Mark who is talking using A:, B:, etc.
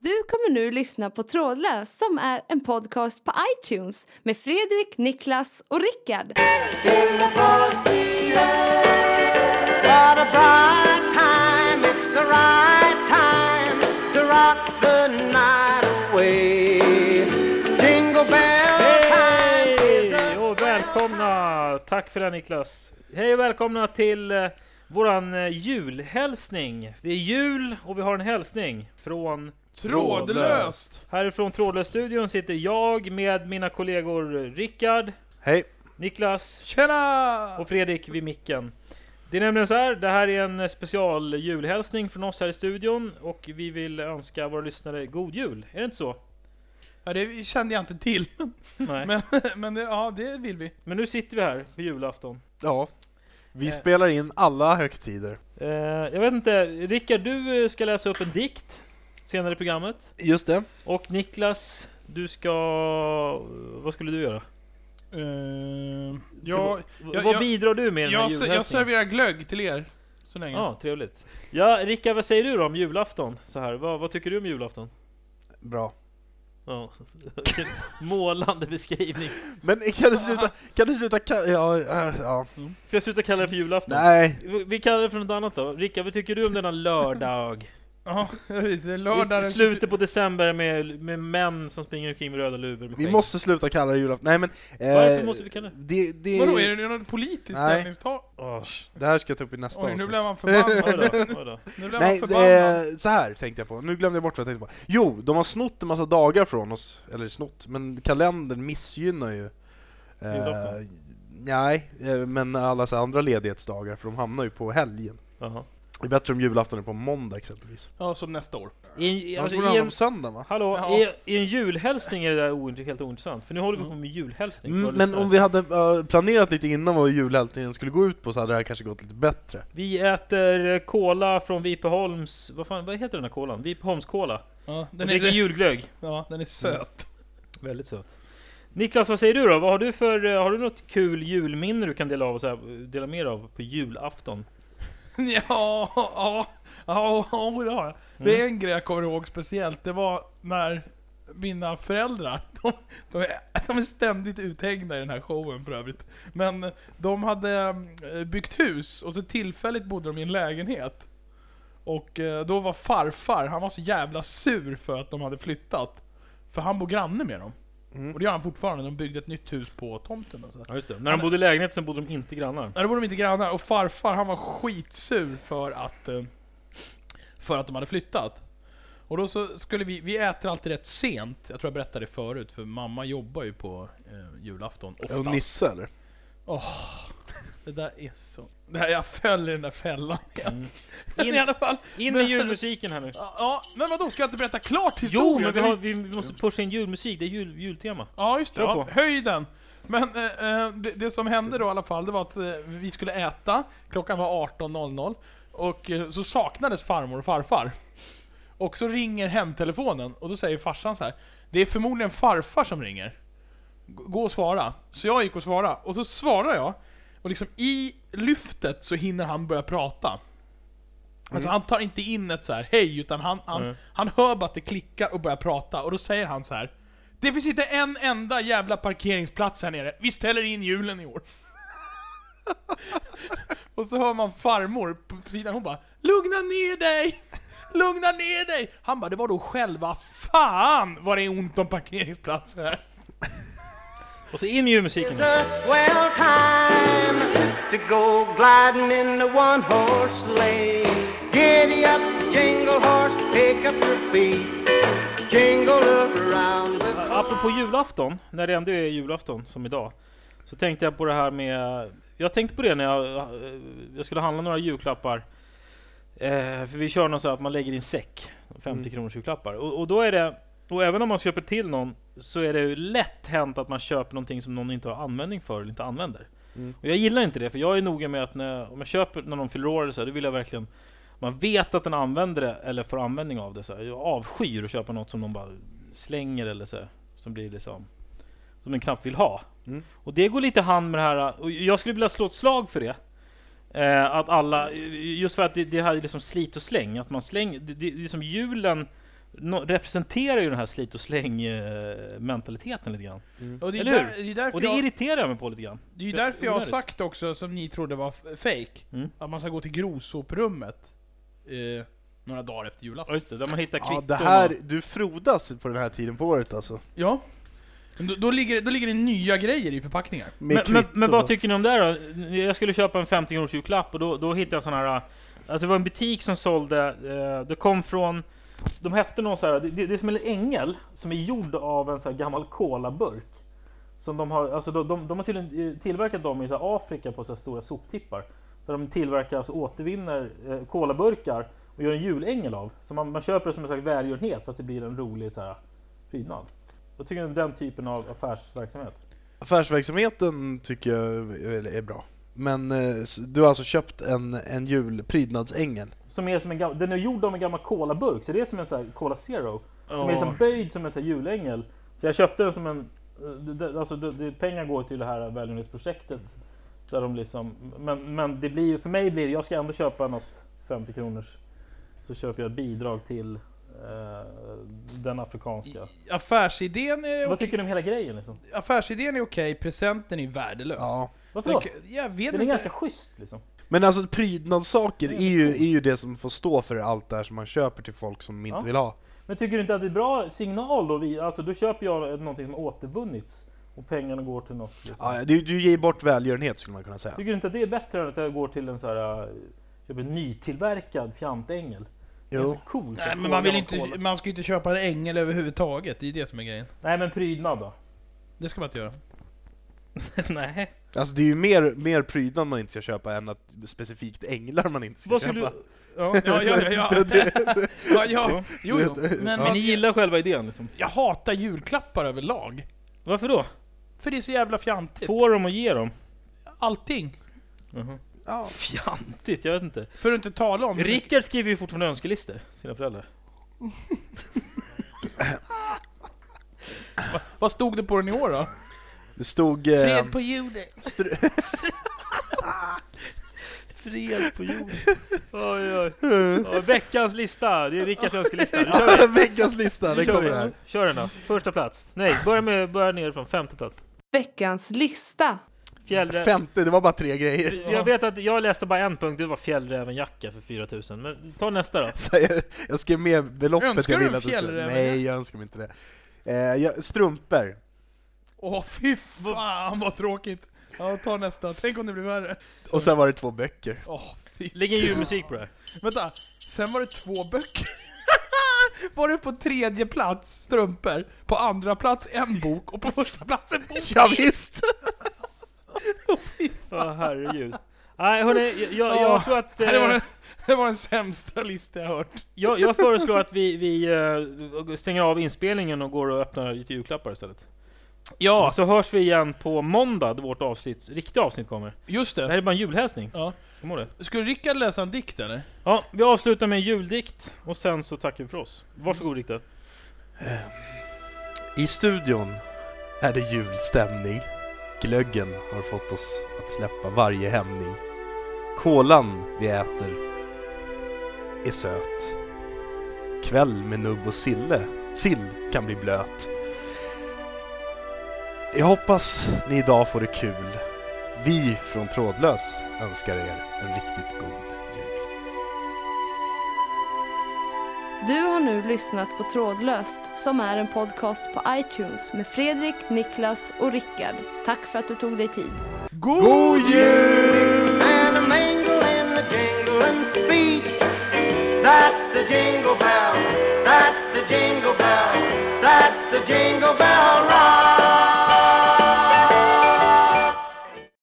A: Du kommer nu lyssna på Trådlös som är en podcast på iTunes med Fredrik, Niklas och Rickard.
B: What a bright time, it's the right time to rock the night away. Jingle bell time is
C: Hej
B: the-
C: och välkomna! Tack för det Niklas! Hej och välkomna till eh, våran eh, julhälsning! Det är jul och vi har en hälsning från
D: Trådlöst!
C: Härifrån Trådlös-studion sitter jag med mina kollegor Rickard,
E: Hej!
C: Niklas
D: Tjena!
C: och Fredrik vid micken. Det är nämligen så här, det här är en eh, special julhälsning från oss här i studion och vi vill önska våra lyssnare god jul. Är det inte så?
D: Ja, det kände jag inte till.
C: Nej.
D: Men, men det, ja, det vill vi.
C: Men nu sitter vi här på julafton.
E: Ja, vi
C: Eh.
E: spelar in alla högtider.
C: Eh, jag vet inte, Rickard du eh, ska läsa upp en dikt senare i programmet.
E: Just det.
C: Och Niklas, du ska... Vad skulle du göra?
D: Uh,
C: Tillbaka.
D: jag, jag-
C: vad
D: jag-
C: bidrar du med i den här
D: jag, se- jag
C: julhälsningen?
D: serverar glögg till er. Så länge.
C: Ja, trevligt. Ja, Rickard vad säger du då om julafton? Så här, vad, vad tycker du om julafton?
E: Bra.
C: Ja. Vilken Målande beskrivning.
E: Men kan du sluta... Kan du sluta... Ka- ja, äh, ja.
C: Ska jag sluta kalla det för julafton?
E: Nej!
C: Vi- Vi kallar det för något annat då. Rickard, vad tycker du om denna lördag?
D: Ja, jag vet. det är
C: I
D: Lördag
C: s-
D: den
C: slutet på december med, med män som springer omkring med röda luvor. med
E: Vi
C: skägg.
E: måste sluta kalla det julafton. Nej men... eh,
C: Varför måste vi kalla det?
E: det? Det,
D: 24. Vadå, är det något politiskt
E: Nej.
D: ställningstagande?
C: Åh,
E: det här ska jag ta upp i nästa
D: Oj, nu
E: avsnitt.
D: blev man
C: Ah, oj
D: förbannad.
C: då, oj då.
D: Nu blev man
E: Nej,
D: förbannad.
E: eh, så här tänkte jag på. Nu glömde jag bort vad jag tänkte på. Jo, de har snott en massa dagar från oss. Eller snott, men kalendern missgynnar ju... eh,
C: Julafton.
E: Nej, eh, men alla så här andra ledighetsdagar, för de hamnar ju på helgen.
C: Jaha.
E: Det är bättre om julafton är på måndag exempelvis.
D: Ja, som nästa år.
C: I, en-
E: Annars
C: alltså,
E: borde det
C: i
E: hamna
C: en,
E: på söndag va?
C: hallå,
D: Ja.
C: i, i en julhälsning är det där oint- helt ointressant, för nu håller vi på med julhälsning.
E: Mm,
C: Våra
E: men
C: lyssnare.
E: om vi hade eh, planerat lite innan vad julhälsningen skulle gå ut på så hade det här kanske gått lite bättre.
C: vi äter eh, cola från Vipeholms... Vad, fan, vad heter den här colan? Vipeholms cola.
D: Ja,
C: Och
D: den, är,
C: dricker
D: den,
C: julglögg.
D: ja, den är söt.
C: Väldigt söt. Niklas, vad säger du då? Vad har du för... eh, Har du något kul julminne du kan dela, av, och så här, dela med dig av på julafton?
D: Ja, ja, ja, ja, det har jag. Det är
C: Mm.
D: en grej jag kommer ihåg speciellt. Det var när mina föräldrar, de, de, är, de är ständigt uthängda i den här showen för övrigt. Men de hade eh, byggt hus och så tillfälligt bodde de i en lägenhet. Och eh, då var farfar, han var så jävla sur för att de hade flyttat. För han bor granne med dem.
E: Mm.
D: Och det gör han fortfarande, de byggde ett nytt hus på tomten och sådär.
C: Ja, just det. När de bodde i lägenhet, sen bodde de inte grannar.
D: Nej, då bodde de inte grannar. Och farfar, han var skitsur för att... eh, För att de hade flyttat. Och då så skulle vi... Vi äter alltid rätt sent. Jag tror jag berättade det förut, för mamma jobbar ju på eh, julafton
E: Och
D: oftast.
E: Nisse eller?
D: Det där är så... Det här, jag föll i den där fällan igen.
C: Mm. In-
D: Men I alla fall.
C: In med
D: Men-
C: julmusiken här nu!
D: Ja, men vadå? Ska jag inte berätta klart historien?
C: Jo, men vi, har, vi vi måste pusha in julmusik, det är jul, jultema.
D: Ja, just det.
C: Kör
D: Ja,
C: på.
D: höjden. Men eh, eh, det, det som hände då i alla fall, det var att eh, vi skulle äta. Klockan var 18.00. Och eh, så saknades farmor och farfar. Och så ringer hemtelefonen och då säger farsan så här. Det är förmodligen farfar som ringer. G- Gå och svara. Så jag gick och svarade. Och så svarar jag. Och liksom i lyftet så hinner han börja prata. Alltså han tar inte in ett så här hej, utan han, han,
C: Mm. Nej.
D: han hör bara att det klickar och börjar prata. Och då säger han så här. Det finns inte en enda jävla parkeringsplats här nere. Vi ställer in julen i år. och så hör man farmor på på sidan, hon bara Lugna ner dig! Lugna ner dig! Han bara, det var då själva fan vad det är ont om parkeringsplatser här.
C: Och så in med julmusiken nu!
B: the swell time to go gliding in the one horse sleigh. Giddy up, jingle horse, pick up your feet, jingle up around the
C: Apropå julafton, när det ändå är julafton som idag, så tänkte jag på det här med... Jag tänkte på det när jag, eh, jag skulle handla några julklappar. Eh, för vi kör något så här att man lägger i en säck, 50 kronors julklappar. Och, och då är det... Och även om man köper till någon, så är det ju lätt hänt att man köper någonting som någon inte har användning för, eller inte använder. Och jag gillar inte det, för jag är noga med att när, om jag köper när någon fyller år eller så, här, då vill jag verkligen man vet att den använder det eller får användning av det. Så här. Jag avskyr att köpa något som de bara slänger eller så. här, Som blir liksom... Som den knappt vill ha.
E: Mm.
C: Och det går lite hand med det här... Och jag skulle vilja slå ett slag för det. Eh, att alla... Just för att det, det här är liksom slit och släng. Att man slänger... Det, det, det är som julen nå- representerar ju den här slit och släng eh, mentaliteten lite grann.
D: Och det är,
C: Eller
D: där,
C: hur?
D: det är därför
C: Och det
D: jag,
C: irriterar jag mig på lite grann.
D: det är ju därför jag har
C: onödigt.
D: sagt också, som ni trodde var f- fake,
C: Mm.
D: att man ska gå till grovsoprummet eh, några dagar efter
C: Ja
D: julafton.
C: just det, där man hittar
E: Ja,
C: kvitton.
E: det här, du frodas på den här tiden på året alltså.
D: Ja. Men Då, då, ligger, det- då ligger det nya grejer i förpackningar.
E: Med
C: Men, men,
E: kvitton
C: men vad
E: och-
C: tycker ni om det här då? Jag skulle köpa en 50 kronors julklapp och då, då hittade jag sån här... äh, Att det var en butik som sålde... Eh, det kom från... De hette någon så här... Det, det det är som en ängel som är gjord av en så här gammal kolaburk. Som de har... Alltså de, de, de har tydligen eh, tillverkat dem i så här Afrika på så här stora soptippar. Där de tillverkar, alltså återvinner eh, kolaburkar och gör en julängel av. Så man, man köper det som en slags välgörenhet fast det blir en rolig så här prydnad. Vad tycker ni om den typen av affärsverksamhet?
E: Affärsverksamheten tycker jag är, är bra. Men eh, s- du har alltså köpt en, en julprydnadsängel.
C: Som är som en gam- den är gjord av en gammal colaburk, så det är som en sån här Cola Zero. Som är
D: Ja.
C: som böjd som en sån här julängel. Så jag köpte den som en... eh, det- det- Alltså det, det, pengar går till det här välgörenhetsprojektet. Där de liksom, men men det blir, ju- för mig blir det, jag ska ändå köpa något 50 kronors. Så köper jag ett bidrag till eh, den afrikanska.
D: Affärsidén är
C: Vad
D: okej,
C: tycker du om hela grejen liksom?
D: affärsidén är okej presenten är värdelös.
E: Ja.
C: Varför då?
D: Den, jag vet
C: Den är
D: inte.
C: ganska schysst liksom.
E: Men alltså prydnadssaker
C: Mm.
E: är ju, är ju det som får stå för allt det här som man köper till folk som inte
C: Ja.
E: vill ha.
C: Men tycker du inte att det är bra signal då? Vi, alltså, då köper jag någonting som har återvunnits. Och pengarna går till något. Liksom.
E: Ja, du, du ger bort välgörenhet skulle man kunna säga.
C: Tycker du inte att det är bättre än att jag går till en så här äh, köper en nytillverkad fjantängel? Det är
E: Jo.
C: så Cool, så
D: Nej, men
C: kola-
D: man, vill
C: kola.
D: inte, man ska ju inte köpa en ängel överhuvudtaget, det är ju det som är grejen.
C: Nej men prydnad då?
D: Det ska man inte göra.
C: Nej.
E: Alltså det är ju mer, mer prydnad man inte ska köpa än att specifikt änglar man inte ska
C: Vad skulle
E: köpa.
C: du... Ja.
D: Ja, ja, ja, ja. ja, ja. Jo, jo.
E: Så-
D: Men,
C: Men ni
D: man,
C: gillar själva idén liksom?
D: jag hatar julklappar överlag.
C: Varför då?
D: För det är så jävla fjantigt.
C: Få dem och ge dem?
D: Allting.
E: Ja.
C: Fjantigt, jag vet inte.
D: För att inte tala om...
C: Rickard skriver ju fortfarande önskelistor, sina föräldrar.
D: Vad stod det på den i år då?
E: Det stod... eh,
D: Fred på jorden.
E: str-
C: Fred på jorden. Oj, oj. Ja, veckans lista, det är Rickards önskelista. Nu kör vi.
E: Veckans lista,
C: Nu
E: det
C: kör
E: kommer
C: vi.
E: här.
C: Kör den då. Första plats. Nej, börja, med, börja nerifrån. Femte plats.
A: Veckans lista.
C: Fjällräven.
E: Femte, det var bara tre grejer.
C: Jag vet att jag läste bara en punkt, det var fjällrävenjacka för 4000. Men ta nästa då.
E: Så jag, jag skrev med beloppet
D: Önskar
E: jag
D: du
E: ville
D: en
E: att du skulle...
D: fjällräven?
E: Nej, jag önskar mig inte det. Eh, jag, strumpor.
D: Åh fy fan vad tråkigt. Ja, ta nästa. Tänk om det blir värre.
E: Och sen var det två böcker.
D: Åh fy.
C: Lägg in julmusik på det här.
D: Vänta. Sen var det två böcker. Var det på tredje plats strumpor, på andra plats en bok och på första plats en bok?
E: Ja, visst.
C: Ja, herregud. Nej hörni, jag, jag, jag
D: Ja,
C: tror att...
D: Det var,
C: Eh,
D: den, det var den sämsta lista jag hört.
C: jag, jag föreslår att vi, vi eh, stänger av inspelningen och går och öppnar lite julklappar istället. Så, så hörs vi igen på måndag då vårt avsnitt, riktiga avsnitt kommer.
D: just
C: Det här är bara en julhälsning.
D: Ja.
C: Kom ihåg det.
D: Skulle Rickard läsa en dikt eller?
C: Ja, vi avslutar med en juldikt och sen så tackar vi för oss. Varsågod Rikard.
E: I studion är det julstämning. Glöggen har fått oss att släppa varje hämning. Kolan vi äter är söt. Kväll med nubb och sille, sill kan bli blöt. Jag hoppas ni idag får det kul. Vi från Trådlös önskar er en riktigt god jul.
A: Du har nu lyssnat på Trådlöst som är en podcast på iTunes med Fredrik, Niklas och Rickard. Tack för att du tog dig tid.
E: God jul!
B: and a mingle and a jingle and speak. That's the jingle bell. That's the jingle bell. That's the jingle bell